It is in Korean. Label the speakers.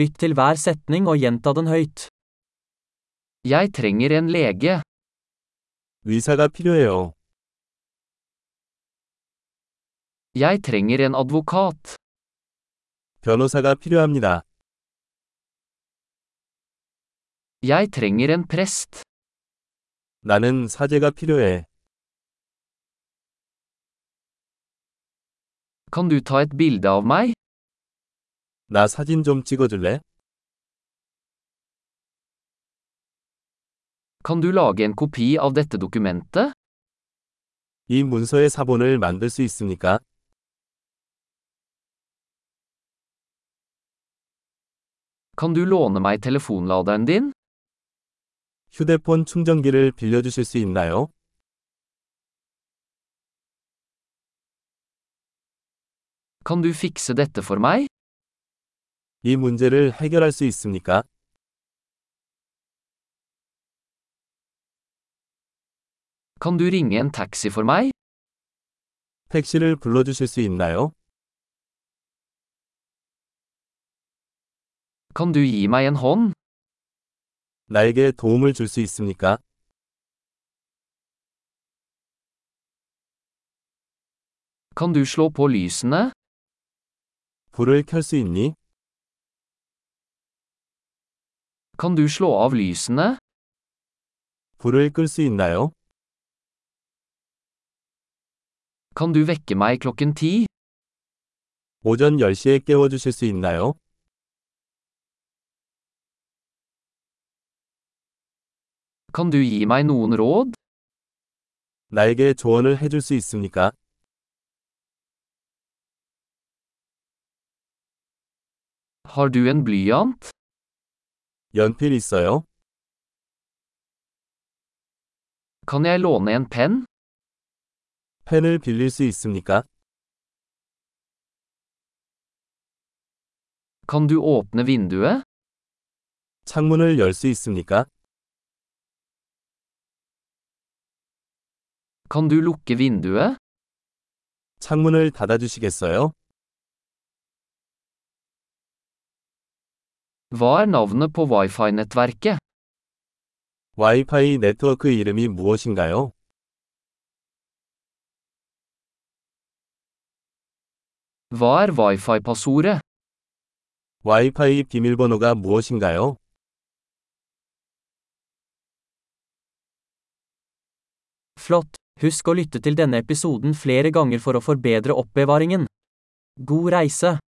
Speaker 1: Lytt til hver setning og gjenta den høyt. Jeg trenger en lege.
Speaker 2: 의사가 필요해요.
Speaker 1: Jeg trenger en advokat.
Speaker 2: 변호사가 필요합니다.
Speaker 1: Jeg trenger en prest.
Speaker 2: 나는 사제가 필요해.
Speaker 1: Kan du ta et bilde av meg?
Speaker 2: 나 사진 좀 찍어줄래?
Speaker 1: Kan du lage en kopi av dette dokumentet?
Speaker 2: 이 문서의 사본을 만들 수 있습니까?
Speaker 1: Kan du låne meg telefonladeren din?
Speaker 2: 휴대폰 충전기를 빌려주실 수 있나요?
Speaker 1: Kan du fikse dette for meg?
Speaker 2: 이 문제를 해결할 수 있습니까?
Speaker 1: Kan du ringe en taxi for meg?
Speaker 2: 택시를 불러주실 수 있나요?
Speaker 1: Kan du gi meg en hånd?
Speaker 2: 나에게 도움을 줄 수 있습니까?
Speaker 1: Kan du slå på lysene?
Speaker 2: 불을 켤 수 있니?
Speaker 1: Kan du slå av lysene?
Speaker 2: 불을 끌 수 있나요?
Speaker 1: Kan du vekke meg klokken ti?
Speaker 2: 오전 10시에 깨워주실 수 있나요?
Speaker 1: Kan du gi meg noen råd?
Speaker 2: 나에게 조언을 해줄 수 있습니까?
Speaker 1: Har du en blyant?
Speaker 2: 연필 있어요?
Speaker 1: Kan jeg låne en penn?
Speaker 2: 펜을 빌릴 수 있습니까?
Speaker 1: Kan du åpne vinduet?
Speaker 2: 창문을 열 수 있습니까?
Speaker 1: Kan du lukke vinduet?
Speaker 2: 창문을 닫아주시겠어요?
Speaker 1: Hva er navnet på wifi-nettverket?
Speaker 2: 와이파이 네트워크 이름이 무엇인가요?
Speaker 1: Hva er wifi-passordet?
Speaker 2: 와이파이 비밀번호가 무엇인가요?
Speaker 1: Flott! Husk å lytte til denne episoden flere ganger for å forbedre oppbevaringen. God reise!